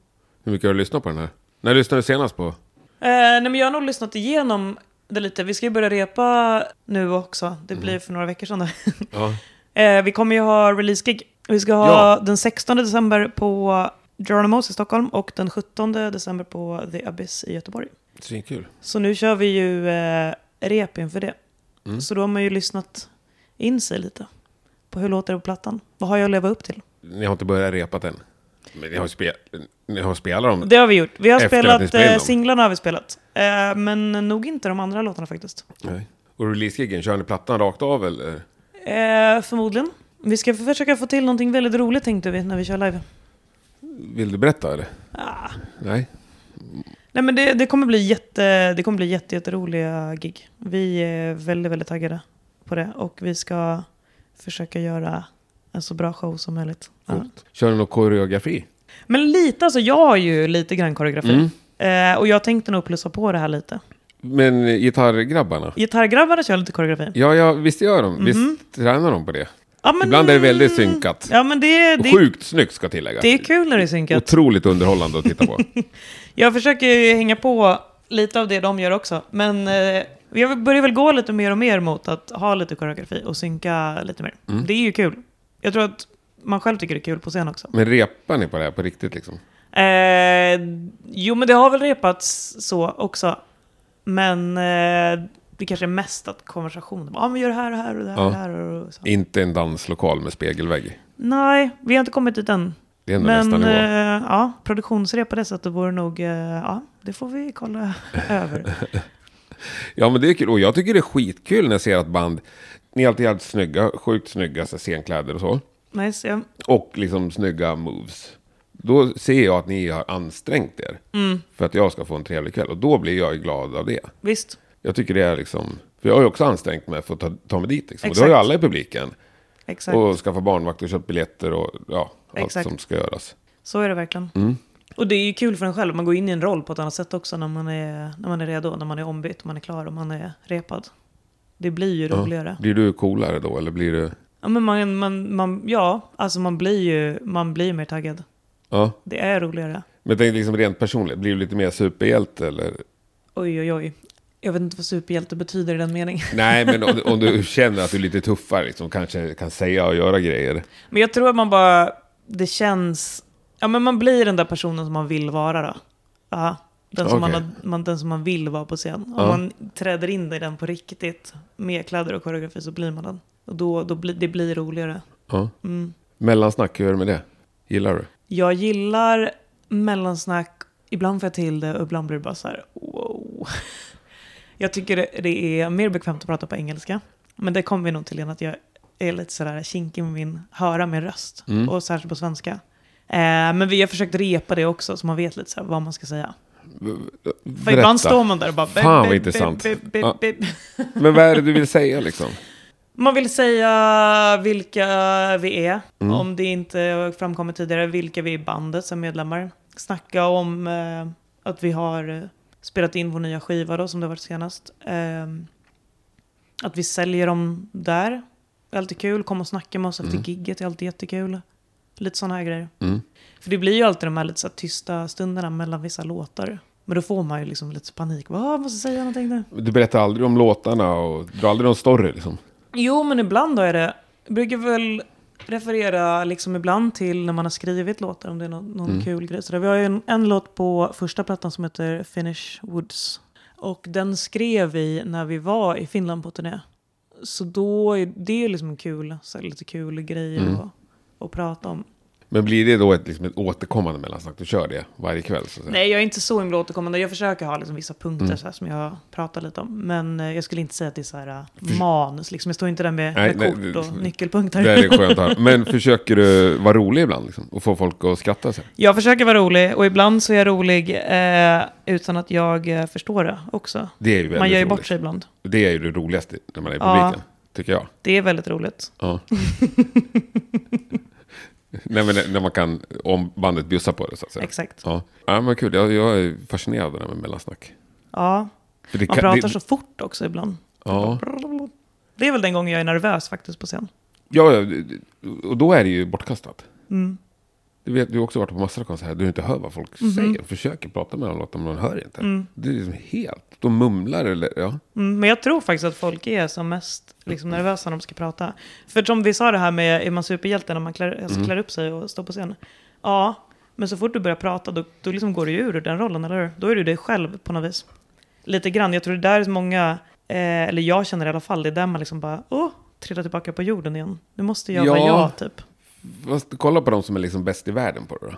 Speaker 3: Hur mycket har du lyssnat på den här? När lyssnade du senast på?
Speaker 1: Eh, nej, men jag har nog lyssnat igenom det lite. Vi ska ju börja repa nu också. Det blir för några veckor sedan. då.
Speaker 3: Mhm. Ja.
Speaker 1: Eh, vi kommer ju ha release-gig. Vi ska ha
Speaker 3: Ja.
Speaker 1: den 16 december på Geronimos i Stockholm och den 17 december på The Abyss i Göteborg.
Speaker 3: Svinkul.
Speaker 1: Så nu kör vi ju eh, rep inför det.
Speaker 3: Mm.
Speaker 1: Så då har man ju lyssnat in sig lite på hur låter det på plattan. Vad har jag att leva upp till?
Speaker 3: Ni har inte börjat repat än? Men ni har, ju spe... ni har spelat dem?
Speaker 1: Det har vi gjort. Vi har
Speaker 3: Efter att
Speaker 1: spelat,
Speaker 3: ni spelar in
Speaker 1: eh,
Speaker 3: dem.
Speaker 1: singlarna har vi spelat. Eh, men nog inte de andra låtarna faktiskt.
Speaker 3: Nej. Och release-gigen, kör ni plattan rakt av eller?
Speaker 1: Eh, förmodligen. Vi ska försöka få till någonting väldigt roligt tänkte vi när vi kör live.
Speaker 3: Vill du berätta eller?
Speaker 1: Ah.
Speaker 3: Nej.
Speaker 1: Nej, men det, det kommer bli, jätte, det kommer bli jätte, jätteroliga gig. Vi är väldigt, väldigt taggade på det. Och vi ska försöka göra en så bra show som möjligt. Ja.
Speaker 3: Coolt. Kör du någon koreografi?
Speaker 1: Men lite, alltså jag har ju lite grann koreografi.
Speaker 3: Mm.
Speaker 1: Eh, och jag tänkte nog plussa på det här lite.
Speaker 3: Men gitarrgrabbarna?
Speaker 1: Gitarrgrabbarna kör lite koreografi.
Speaker 3: Ja, ja visst gör de.
Speaker 1: Mhm.
Speaker 3: Visst tränar de på det?
Speaker 1: Ja, men,
Speaker 3: Ibland är det väldigt synkat.
Speaker 1: Ja, men det, det,
Speaker 3: Sjukt snyggt ska tilläggas.
Speaker 1: det är kul när det är synkat.
Speaker 3: Otroligt underhållande att titta på.
Speaker 1: Jag försöker ju hänga på lite av det de gör också. Men eh, jag börjar väl gå lite mer och mer mot att ha lite koreografi och synka lite mer.
Speaker 3: Mm.
Speaker 1: Det är ju kul. Jag tror att man själv tycker det är kul på scen också.
Speaker 3: Men repar ni på det här på riktigt liksom?
Speaker 1: Eh, jo, men det har väl repats så också. Men eh, det kanske är mest att konversationen. Ja, ah, men gör det här och det här och det här.
Speaker 3: Ja.
Speaker 1: Och det här och så.
Speaker 3: Inte en danslokal med spegelvägg.
Speaker 1: Nej, vi har inte kommit dit än.
Speaker 3: Det är ändå nästa
Speaker 1: Men
Speaker 3: nivå.
Speaker 1: eh, ja, produktionsrep på det sättet vore nog... Eh, ja, det får vi kolla över.
Speaker 3: Ja, men det är kul. Och jag tycker det är skitkul när jag ser att band, ni är alltid jävligt snygga, sjukt snygga så här, scenkläder och så.
Speaker 1: Nice, ja.
Speaker 3: Och liksom snygga moves. Då ser jag att ni har ansträngt er.
Speaker 1: Mm.
Speaker 3: För att jag ska få en trevlig kväll. Och då blir jag ju glad av det.
Speaker 1: Visst.
Speaker 3: Jag tycker det är liksom... För jag har ju också ansträngt mig för att ta, ta mig dit. Liksom. Och det har
Speaker 1: Exakt.
Speaker 3: ju alla i publiken.
Speaker 1: Exakt.
Speaker 3: Och skaffa barnvakt och köpt biljetter och ja, allt
Speaker 1: Exakt.
Speaker 3: som ska göras.
Speaker 1: Så är det verkligen.
Speaker 3: Mm.
Speaker 1: Och det är ju kul för en själv. Man går in i en roll på ett annat sätt också när man är, när man är redo. När man är ombytt, man är klar och man är repad. Det blir ju roligare. Ja,
Speaker 3: Blir du coolare då eller blir du...
Speaker 1: men man, man, man, ja alltså man blir ju man blir mer taggad.
Speaker 3: Ja.
Speaker 1: Det är roligare.
Speaker 3: Men jag tänkte liksom rent personligt, blir du lite mer superhjälte eller?
Speaker 1: Oj, oj, oj. Jag vet inte vad superhjälte betyder i den meningen.
Speaker 3: Nej, men om, om du känner att du är lite tuffare, liksom, kanske kan säga och göra grejer.
Speaker 1: Men jag tror att man bara, det känns, ja men man blir den där personen som man vill vara då. Ja, den, som
Speaker 3: Okej.
Speaker 1: man, har- man, den som man vill vara på scen. Om
Speaker 3: Ja.
Speaker 1: man träder in i den på riktigt med kläder och koreografi så blir man den. Och då, då blir det blir roligare.
Speaker 3: Ja. Mellansnack, hur är det med det? Gillar du?
Speaker 1: Jag gillar mellansnack, ibland får jag till det och ibland blir det bara så här, wow. Jag tycker det, det är mer bekvämt att prata på engelska. Men det kommer vi nog till igen att jag är lite sådär kinkig med min, höra min röst.
Speaker 3: Mm.
Speaker 1: Och särskilt på svenska. Eh, men vi har försökt repa det också så man vet lite så här vad man ska säga. För ibland står man där och bara...
Speaker 3: Fan, vad
Speaker 1: bip, bip,
Speaker 3: intressant.
Speaker 1: bip, bip,
Speaker 3: Ja.
Speaker 1: bip.
Speaker 3: Men vad är det du vill säga liksom?
Speaker 1: Man vill säga vilka vi är, om det inte framkommit tidigare, vilka vi är i bandet som medlemmar. Snacka om eh, att vi har eh, spelat in vår nya skiva då, som det har varit senast. Eh, att vi säljer dem där, är alltid kul. Kom och snacka med oss efter gigget, är alltid jättekul. Lite sådana här grejer.
Speaker 3: Mm.
Speaker 1: För det blir ju alltid de här lite så här tysta stunderna mellan vissa låtar. Men då får man ju liksom lite panik. Vad, måste säga någonting nu?
Speaker 3: Du berättar aldrig om låtarna och drar aldrig någon story liksom.
Speaker 1: Jo, men ibland då är det... Jag brukar väl referera liksom ibland till när man har skrivit låtar, om det är någon, någon
Speaker 3: Mm.
Speaker 1: kul grej. Så där, vi har ju en, en låt på första plattan som heter Finish Woods. Och den skrev vi när vi var i Finland på turné. Så då är det är liksom en kul, så här, lite kul grejer
Speaker 3: Mm.
Speaker 1: att, att prata om.
Speaker 3: Men blir det då ett, liksom, ett återkommande mellansnack? Du kör det varje kväll? Så att säga.
Speaker 1: Nej, jag är inte så himla återkommande. Jag försöker ha liksom vissa punkter
Speaker 3: Mm.
Speaker 1: så här, som jag pratar lite om. Men eh, jag skulle inte säga att det är så här eh, manus. Liksom. Jag står inte där med,
Speaker 3: Nej,
Speaker 1: med
Speaker 3: nej,
Speaker 1: kort
Speaker 3: det-
Speaker 1: och nyckelpunkter.
Speaker 3: Det är skönt att höra. Men försöker du vara rolig ibland liksom, och få folk att skratta? Så? här?
Speaker 1: Jag försöker vara rolig och ibland så är jag rolig eh, utan att jag eh, förstår det också.
Speaker 3: Det är ju väldigt
Speaker 1: Man gör ju
Speaker 3: roligt.
Speaker 1: bort sig ibland.
Speaker 3: Det är ju det roligaste när man är i
Speaker 1: Ja.
Speaker 3: publiken, tycker jag.
Speaker 1: Det är väldigt roligt.
Speaker 3: Ja. Nej, men när- när man kan, om bandet bjussar på det så att säga.
Speaker 1: Exakt.
Speaker 3: Ja, ja men kul. Jag, jag är fascinerad av det här med mellansnack.
Speaker 1: Ja.
Speaker 3: För det
Speaker 1: Man
Speaker 3: kan-
Speaker 1: pratar
Speaker 3: det,
Speaker 1: så fort också ibland.
Speaker 3: Ja.
Speaker 1: Det är väl den gången jag är nervös faktiskt på scen.
Speaker 3: Ja, ja, det- och då är det ju bortkastat.
Speaker 1: Mm.
Speaker 3: Du, vet, du har också varit på massor av konserter där du inte hör vad folk säger. Försöker prata med dem, låter, men de hör inte. Det är liksom helt... De mumlar eller... Ja.
Speaker 1: Mm, men jag tror faktiskt att folk är som mest liksom, nervösa när de ska prata. För som vi sa det här med, är man superhjälte när man klär, alltså, klär upp sig och står på scen? Ja, men så fort du börjar prata då, då liksom går du ju ur den rollen, eller hur? Då är du dig själv på något vis. Lite grann, jag tror det där är så många, eh, eller jag känner i alla fall, det är där man liksom bara, åh, trillar tillbaka på jorden igen. Nu måste jag vara
Speaker 3: Ja.
Speaker 1: jag, typ.
Speaker 3: Fast, kolla på de som är liksom bäst i världen på det då.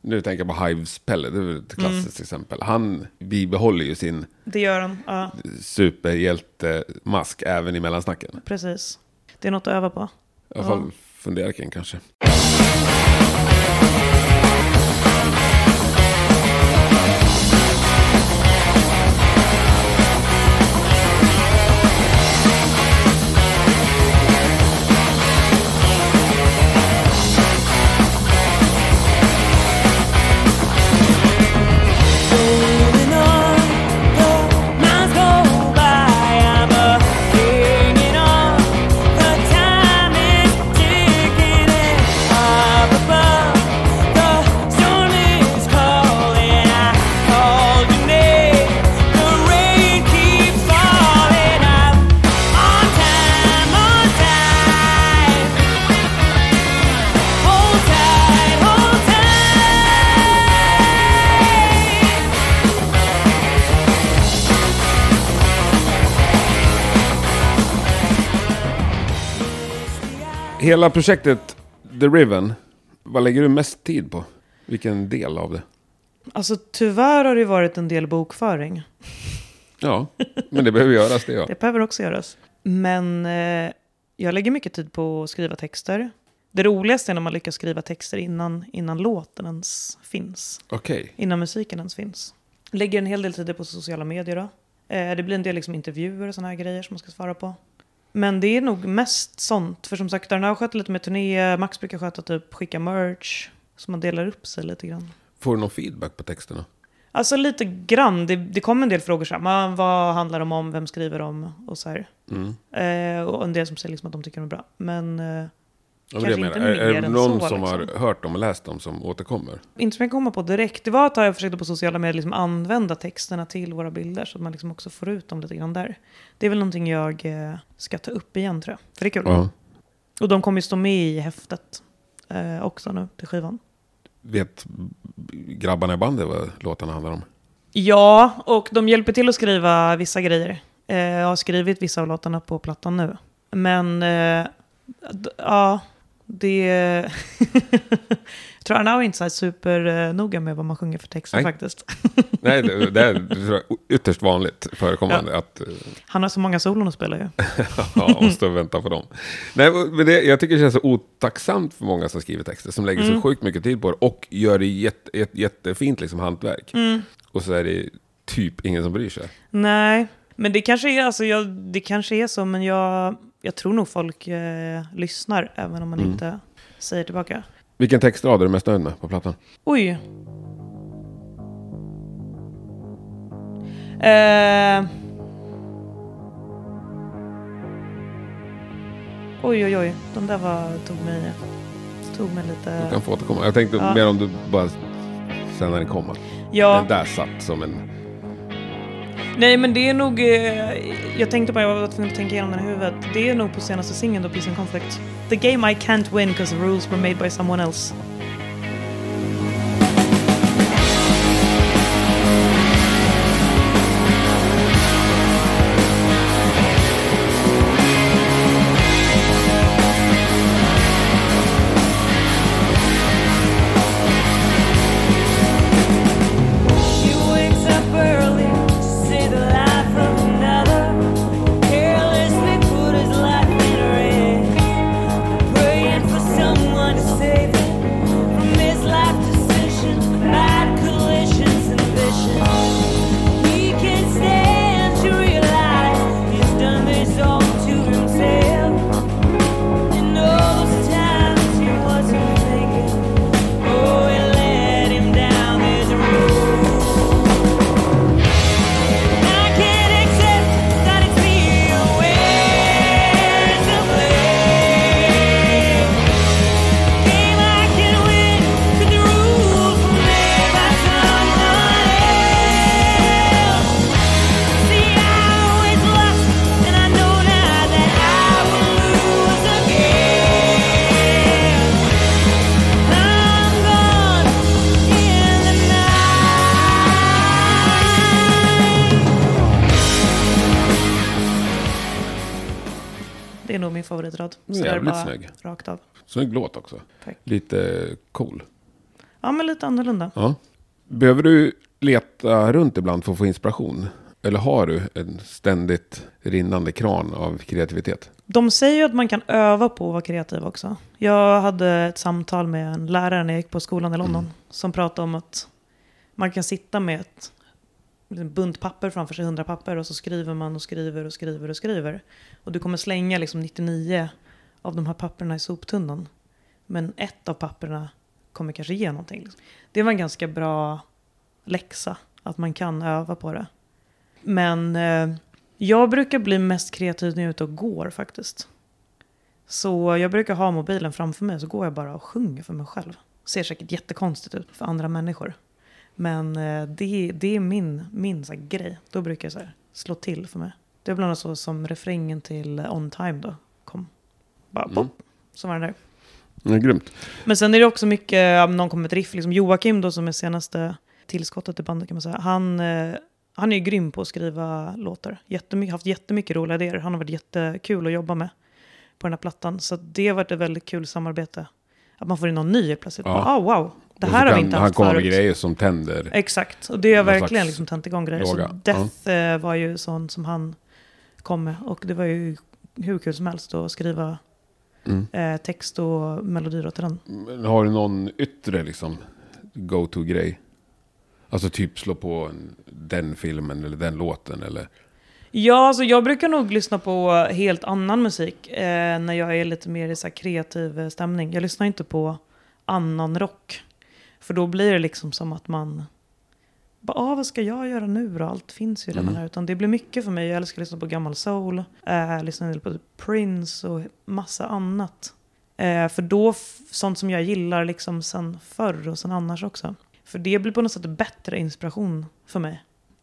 Speaker 3: Nu tänker jag på Hives-Pelle, det är väl ett klassiskt exempel. Han bibehåller ju sin
Speaker 1: Det gör han, ja,
Speaker 3: superhjältemask även i mellansnacken.
Speaker 1: precis. Det är något att öva på.
Speaker 3: I alla fall funderar kring kanske. Hela projektet The Riven, vad lägger du mest tid på? Vilken del av det?
Speaker 1: Alltså tyvärr har det ju varit en del bokföring.
Speaker 3: Ja, men det behöver göras det ja.
Speaker 1: Det behöver också göras. Men eh, jag lägger mycket tid på att skriva texter. Det roligaste är när man lyckas skriva texter innan, innan låten ens finns.
Speaker 3: Okej.
Speaker 1: Innan musiken ens finns. Lägger en hel del tid på sociala medier då. Eh, det blir en del liksom intervjuer och sådana här grejer som man ska svara på. Men det är nog mest sånt. För som sagt, Arnau sköter lite med turné. Max brukar sköta typ skicka merch. Så man delar upp sig lite grann.
Speaker 3: Får du någon feedback på texterna?
Speaker 1: Alltså lite grann. Det, det kom en del frågor så här, "Men vad handlar de om, vem skriver de och så här.
Speaker 3: Mm.
Speaker 1: Eh, och en del som säger liksom att de tycker de är bra. Men eh,
Speaker 3: Ja,
Speaker 1: Kanske
Speaker 3: men det jag
Speaker 1: inte
Speaker 3: menar. Är,
Speaker 1: mer
Speaker 3: är det
Speaker 1: än
Speaker 3: någon
Speaker 1: så, liksom.
Speaker 3: som har hört dem och läst dem som återkommer?
Speaker 1: inte som jag kommer på direkt. Det var att jag försökte på sociala medier liksom använda texterna till våra bilder. Så att man liksom också får ut dem lite grann där. Det är väl någonting jag eh, ska ta upp igen tror jag. För det är kul.
Speaker 3: Ja.
Speaker 1: Och de kommer ju stå med i häftet eh, också nu till skivan.
Speaker 3: Vet grabbarna i bandet vad låtarna handlar om?
Speaker 1: Ja, och de hjälper till att skriva vissa grejer. Eh, jag har skrivit vissa av låtarna på plattan nu. Men, eh, d- ja, det... jag tror Arnau är inte så här supernoga med vad man sjunger för texter
Speaker 3: Nej.
Speaker 1: faktiskt.
Speaker 3: Nej, det, det är tror jag, ytterst vanligt förekommande att eh,
Speaker 1: Han har så många solon att spela ju.
Speaker 3: ja, måste vänta på dem. Nej, men det, jag tycker det känns så otacksamt för många som skriver texter, som lägger
Speaker 1: Mm.
Speaker 3: så sjukt mycket tid på det och gör det jätte, jätte, jättefint liksom, hantverk.
Speaker 1: Mm.
Speaker 3: Och så är det typ ingen som bryr sig.
Speaker 1: Nej, men det kanske är, alltså, jag, det kanske är så, men jag, jag tror nog folk eh, lyssnar även om man inte säger tillbaka.
Speaker 3: Vilken textrad är du mest nöjd med på plattan?
Speaker 1: Oj. Eh. Oj, oj, oj. De där var, tog, mig, tog mig
Speaker 3: Du
Speaker 1: lite...
Speaker 3: kan få återkomma. Jag tänkte
Speaker 1: Ja.
Speaker 3: mer om du bara sen när den kommer.
Speaker 1: Ja,
Speaker 3: Den där satt som en...
Speaker 1: nej men det är nog... Eh, jag tänkte bara, jag var tvungen att tänka igenom den i huvudet. Det är nog på senaste singeln då, Peace and Conflict. The game I can't win because the rules were made by someone else.
Speaker 4: She wakes up early to see the light from another. Carelessly put his life in her hands, praying for someone to save him from his life decisions, bad collisions, and vision. He can't stand to realize he's done this all to himself. And all those times he wasn't thinking, oh, it led him down this road. I can't accept that it's me always to blame. Game I can win, 'cause the rules were made by someone else. See, I always lost, and I know now that I will lose again. I'm gone in the night.
Speaker 1: Det är nog min favoritrad. Sådär
Speaker 3: Jävligt
Speaker 1: bara
Speaker 3: snygg.
Speaker 1: Rakt av.
Speaker 3: Snygg låt också.
Speaker 1: Tack.
Speaker 3: Lite cool.
Speaker 1: Ja, men lite annorlunda.
Speaker 3: Ja. Behöver du leta runt ibland för att få inspiration? Eller har du en ständigt rinnande kran av kreativitet?
Speaker 1: De säger ju att man kan öva på att vara kreativ också. Jag hade ett samtal med en lärare när jag gick på skolan i London som pratade om att man kan sitta med ett en bunt papper framför sig, hundra papper, och så skriver man och skriver och skriver och skriver. Och du kommer slänga liksom 99 av de här papperna i soptunnan. Men ett av papperna kommer kanske ge någonting. Liksom. Det var en ganska bra läxa, att man kan öva på det. Men eh, jag brukar bli mest kreativ när jag är ute och går faktiskt. Så jag brukar ha mobilen framför mig så går jag bara och sjunger för mig själv. Ser säkert jättekonstigt ut för andra människor. Men eh, det, det är min, min så här grej. Då brukar jag så här slå till för mig. Det är bland annat så som refrängen till On Time då kom. Bara pop, så var den där.
Speaker 3: Mm, grymt.
Speaker 1: Men sen är det också mycket, om någon kommer med ett riff, liksom Joakim då som är senaste tillskottet till bandet kan man säga. Han, eh, han är ju grym på att skriva låtar. Jättemy- haft jättemycket roliga idéer. Han har varit jättekul att jobba med. på den här plattan. Så att det har varit ett väldigt kul samarbete. Att man får in någon ny helt plötsligt.
Speaker 2: Ja.
Speaker 1: Bara, Ah, wow, det
Speaker 3: Och så
Speaker 1: här har vi
Speaker 3: kan
Speaker 1: inte
Speaker 3: Han
Speaker 1: haft
Speaker 3: kommer med
Speaker 1: förut.
Speaker 3: grejer som tänder.
Speaker 1: Exakt, och det har
Speaker 3: Någon
Speaker 1: verkligen
Speaker 3: slags
Speaker 1: liksom tänt igång grejer.
Speaker 3: låga.
Speaker 1: Så Death eh, var ju sån som han kom med. Och det var ju hur kul som helst att skriva
Speaker 3: Mm.
Speaker 1: eh, text och melodier åt den.
Speaker 3: Men Har du någon yttre liksom go-to-grej? Alltså typ slå på en, den filmen eller den låten eller...
Speaker 1: Ja, alltså jag brukar nog lyssna på helt annan musik eh, när jag är lite mer i så här kreativ eh, stämning. Jag lyssnar inte på annan rock. För då blir det liksom som att man... Bara, ah, vad ska jag göra nu då? Allt finns ju redan
Speaker 3: Mm.
Speaker 1: här. Utan det blir mycket för mig. Jag älskar att lyssna på gammal soul. Eh, lyssna en del på Prince och massa annat. Eh, för då, f- sånt som jag gillar liksom sen förr och sen annars också. För det blir på något sätt bättre inspiration för mig.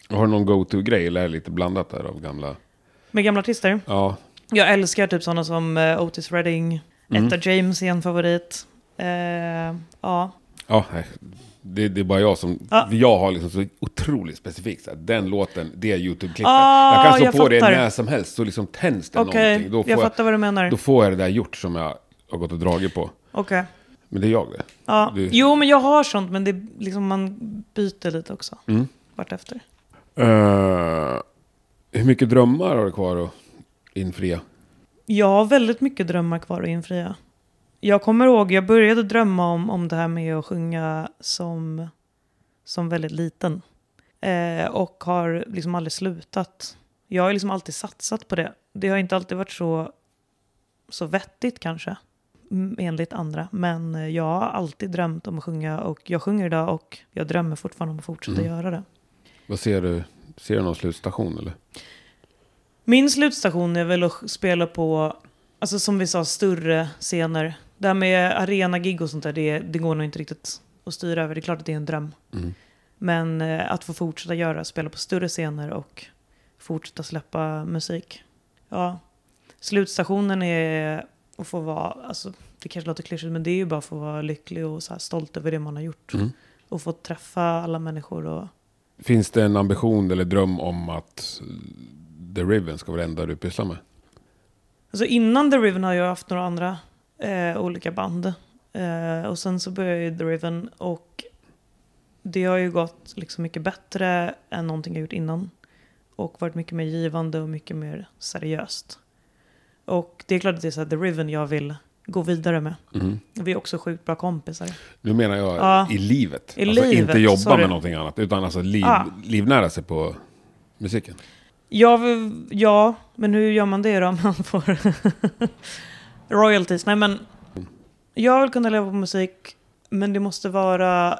Speaker 3: Har du någon go-to-grej eller är det lite blandat där av gamla...
Speaker 1: Med gamla artister.
Speaker 3: Ja,
Speaker 1: Jag älskar typ sådana som eh, Otis Redding,
Speaker 3: Mm.
Speaker 1: Etta James är en favorit. Eh, ja.
Speaker 3: ja nej. Det, det är bara jag som...
Speaker 1: Ja.
Speaker 3: Jag har liksom så otroligt specifikt. Så här, den låten, det YouTube-klippet.
Speaker 1: Ah,
Speaker 3: jag kan slå
Speaker 1: jag
Speaker 3: på det
Speaker 1: fattar.
Speaker 3: när som helst så liksom tänds det
Speaker 1: Okej,
Speaker 3: någonting. Då får
Speaker 1: jag
Speaker 3: jag,
Speaker 1: fattar vad du menar.
Speaker 3: då
Speaker 1: Okej.
Speaker 3: får jag det där gjort som jag har gått och dragit på. Men det är jag det.
Speaker 1: Ja.
Speaker 3: Du-
Speaker 1: Jo, men jag har sånt, men det är liksom, man byter lite också.
Speaker 3: Mm.
Speaker 1: Vartefter.
Speaker 3: Eh, hur mycket drömmar har du kvar att infria?
Speaker 1: Jag har väldigt mycket drömmar kvar att infria. Jag kommer ihåg, jag började drömma om, om det här med att sjunga som, som väldigt liten. Eh, och har liksom aldrig slutat. Jag har liksom alltid satsat på det. Det har inte alltid varit så, så vettigt kanske, m- enligt andra. Men eh, jag har alltid drömt om att sjunga och jag sjunger idag och jag drömmer fortfarande om att fortsätta
Speaker 3: Mm.
Speaker 1: göra det.
Speaker 3: Vad ser du? Ser du någon slutstation eller?
Speaker 1: Min slutstation är väl att spela på, alltså som vi sa, större scener. Det här med arenagig och sånt där, det, det går nog inte riktigt att styra över. Det är klart att det är en dröm.
Speaker 3: Mm.
Speaker 1: Men eh, att få fortsätta göra, spela på större scener och fortsätta släppa musik. Ja, slutstationen är att få vara, alltså det kanske låter klyschigt, men det är ju bara att få vara lycklig och så här stolt över det man har gjort.
Speaker 3: Mm.
Speaker 1: Och få träffa alla människor och
Speaker 3: Finns det en ambition eller dröm om att eh, The Riven ska vara det enda du pysslar med?
Speaker 1: Alltså innan The Riven har jag haft några andra eh, olika band. Eh, och sen så började jag i The Riven och det har ju gått liksom mycket bättre än någonting jag gjort innan. Och varit mycket mer givande och mycket mer seriöst. Och det är klart att det är så här, The Riven jag vill gå vidare med.
Speaker 3: Mm.
Speaker 1: Vi är också sjukt bra kompisar.
Speaker 3: Nu menar jag
Speaker 1: Ja.
Speaker 3: i livet.
Speaker 1: I
Speaker 3: alltså
Speaker 1: livet,
Speaker 3: inte jobba
Speaker 1: sorry.
Speaker 3: med någonting annat. Utan alltså liv,
Speaker 1: Ah.
Speaker 3: livnära sig på musiken.
Speaker 1: Ja, v- ja, men hur gör man det då om man får royalties? Nej, men jag vill kunna leva på musik, men det måste vara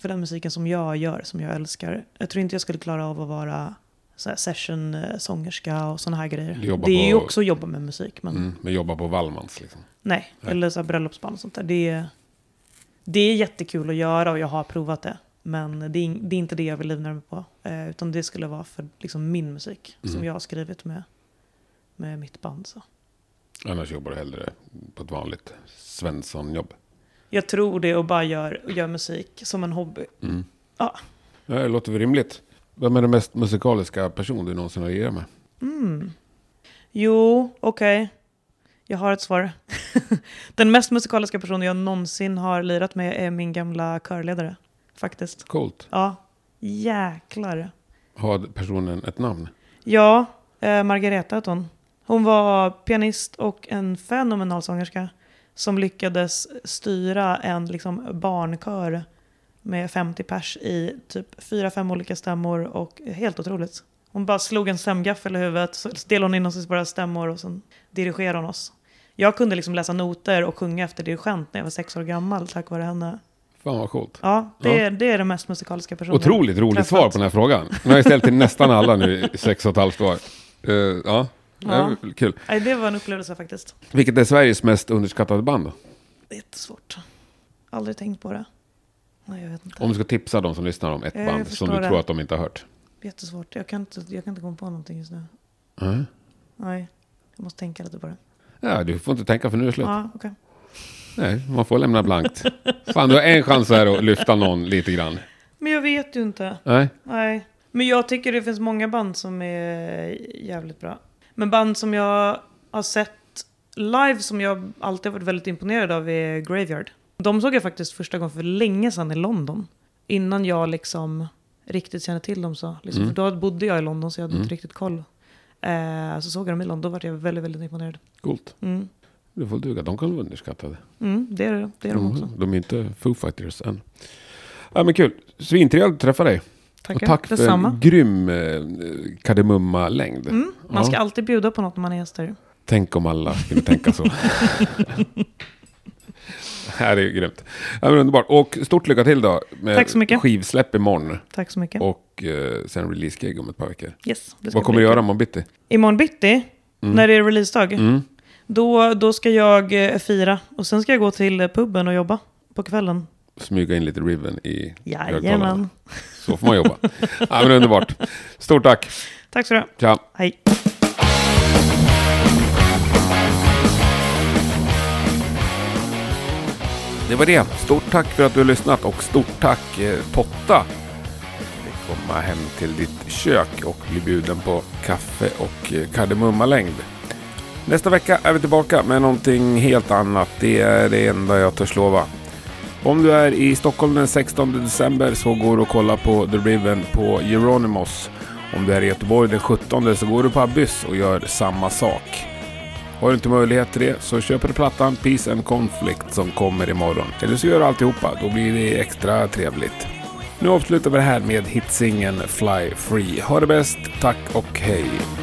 Speaker 1: för den musiken som jag gör, som jag älskar. Jag tror inte jag skulle klara av att vara så här session-sångerska och sådana här grejer.
Speaker 3: Jobba
Speaker 1: det är ju
Speaker 3: på-
Speaker 1: också att jobba med musik, men
Speaker 3: Mm. Men jobba på Wallmans liksom.
Speaker 1: nej. Eller så här bröllopsband och sånt där. Det är, det är jättekul att göra och jag har provat det. Men det är, in- det är inte det jag vill livnära mig på. Eh, utan det skulle vara för liksom, min musik som
Speaker 3: Mm.
Speaker 1: jag har skrivit med, med mitt band. Så.
Speaker 3: Annars jobbar du hellre på ett vanligt Svensson-jobb.
Speaker 1: Jag tror det och bara gör, gör musik som en hobby.
Speaker 3: Mm.
Speaker 1: Ja.
Speaker 3: Ja, det låter väl rimligt. Vem är den mest musikaliska person du någonsin har lirat med?
Speaker 1: Mm. Jo, okej. Jag har ett svar. Den mest musikaliska personen jag någonsin har lirat med är min gamla körledare. Faktiskt.
Speaker 3: Coolt.
Speaker 1: Ja, jäklar.
Speaker 3: Har personen ett namn?
Speaker 1: Ja, eh, Margareta hette hon. Hon var pianist och en fenomenal sångerska som lyckades styra en liksom, barnkör med 50 pers i typ 4-5 olika stämmor och helt otroligt. Hon bara slog en stämgaffel i huvudet, så delade hon in oss i våra stämmor och sen dirigerade hon oss. Jag kunde liksom läsa noter och sjunga efter dirigent när jag var sex år gammal tack vare henne.
Speaker 3: Fan vad coolt.
Speaker 1: Ja, det,
Speaker 3: Ja.
Speaker 1: Är, det är den mest musikaliska personen.
Speaker 3: Otroligt roligt
Speaker 1: träffat.
Speaker 3: svar på den här frågan. Nu har jag ställt till nästan alla nu i sex och ett halvt år. Eh, ja, det är
Speaker 1: Ja.
Speaker 3: väl kul.
Speaker 1: Nej, det var en upplevelse faktiskt.
Speaker 3: Vilket är Sveriges mest underskattade band då?
Speaker 1: Det är jättesvårt. Aldrig tänkt på det. Nej, jag vet inte.
Speaker 3: Om du ska tipsa de som lyssnar om ett
Speaker 1: Eh, Jag
Speaker 3: band
Speaker 1: förstår
Speaker 3: som du
Speaker 1: det.
Speaker 3: tror att de inte har hört.
Speaker 1: Jättesvårt. Jag kan, inte, jag kan inte komma på någonting just nu.
Speaker 3: Nej.
Speaker 1: Nej, jag måste tänka lite på det.
Speaker 3: Ja, du får inte tänka för nu är det slut.
Speaker 1: Ja, okej.
Speaker 3: Nej, man får lämna blankt. Fan, du har en chans här att lyfta någon lite grann.
Speaker 1: Men jag vet ju inte.
Speaker 3: Nej,
Speaker 1: Nej. Men jag tycker det finns många band som är jävligt bra. Men band som jag har sett live som jag alltid har varit väldigt imponerad av är Graveyard. De såg jag faktiskt första gången för länge sedan i London. Innan jag liksom riktigt kände till dem så. Liksom,
Speaker 2: Mm.
Speaker 1: för då bodde jag i London så jag hade inte riktigt koll. Eh, så såg jag dem i London, då var jag väldigt, väldigt imponerad.
Speaker 2: Coolt.
Speaker 1: Mm.
Speaker 2: Det får duga. De kan vara underskattade.
Speaker 1: Mm, det är, det är de också.
Speaker 2: Mm, de är inte Foo Fighters än. Ja, men kul. Svintrevligt att träffa dig.
Speaker 1: Tackar.
Speaker 2: Och tack för en
Speaker 1: Detsamma.
Speaker 2: grym eh, kardemumma-längd.
Speaker 1: Mm, man ska
Speaker 2: Ja.
Speaker 1: alltid bjuda på något när man är gäster.
Speaker 2: Tänk om alla skulle tänka så. här är ju grymt. Ja, men underbart. Och stort lycka till då. Med
Speaker 1: Tack så mycket.
Speaker 2: Skivsläpp imorgon.
Speaker 1: Tack så mycket.
Speaker 2: Och eh, sen release-gig om ett par veckor.
Speaker 1: Yes, det ska
Speaker 2: Vad kommer
Speaker 1: bli
Speaker 2: du
Speaker 1: kul.
Speaker 2: göra imorgon bitti?
Speaker 1: Imorgon bitti, när det är releasedag, då, då ska jag eh, fira. Och sen ska jag gå till eh, puben och jobba på kvällen.
Speaker 2: Smyga in lite Riven i högtalarna.
Speaker 1: Jajamän.
Speaker 2: Så får man jobba. ja, men underbart. Stort tack.
Speaker 1: Tack så du ha.
Speaker 2: Tja.
Speaker 1: Hej.
Speaker 2: Det var det. Stort tack för att du har lyssnat och stort tack eh, Potta. Du kan komma hem till ditt kök och bli bjuden på kaffe och eh, kardemummalängd. Nästa vecka är vi tillbaka med någonting helt annat. Det är det enda jag törs lova. Om du är i Stockholm den 16 december så går du och kollar på The Riven på Geronimos. Om du är i Göteborg den 17 så går du på Abyss och gör samma sak. Har du inte möjlighet till det så köper du plattan Peace and Conflict som kommer imorgon. Eller så gör du alltihopa, då blir det extra trevligt. Nu avslutar vi det här med hitsingen Fly Free. Ha det bäst, tack och hej!
Speaker 4: Oh,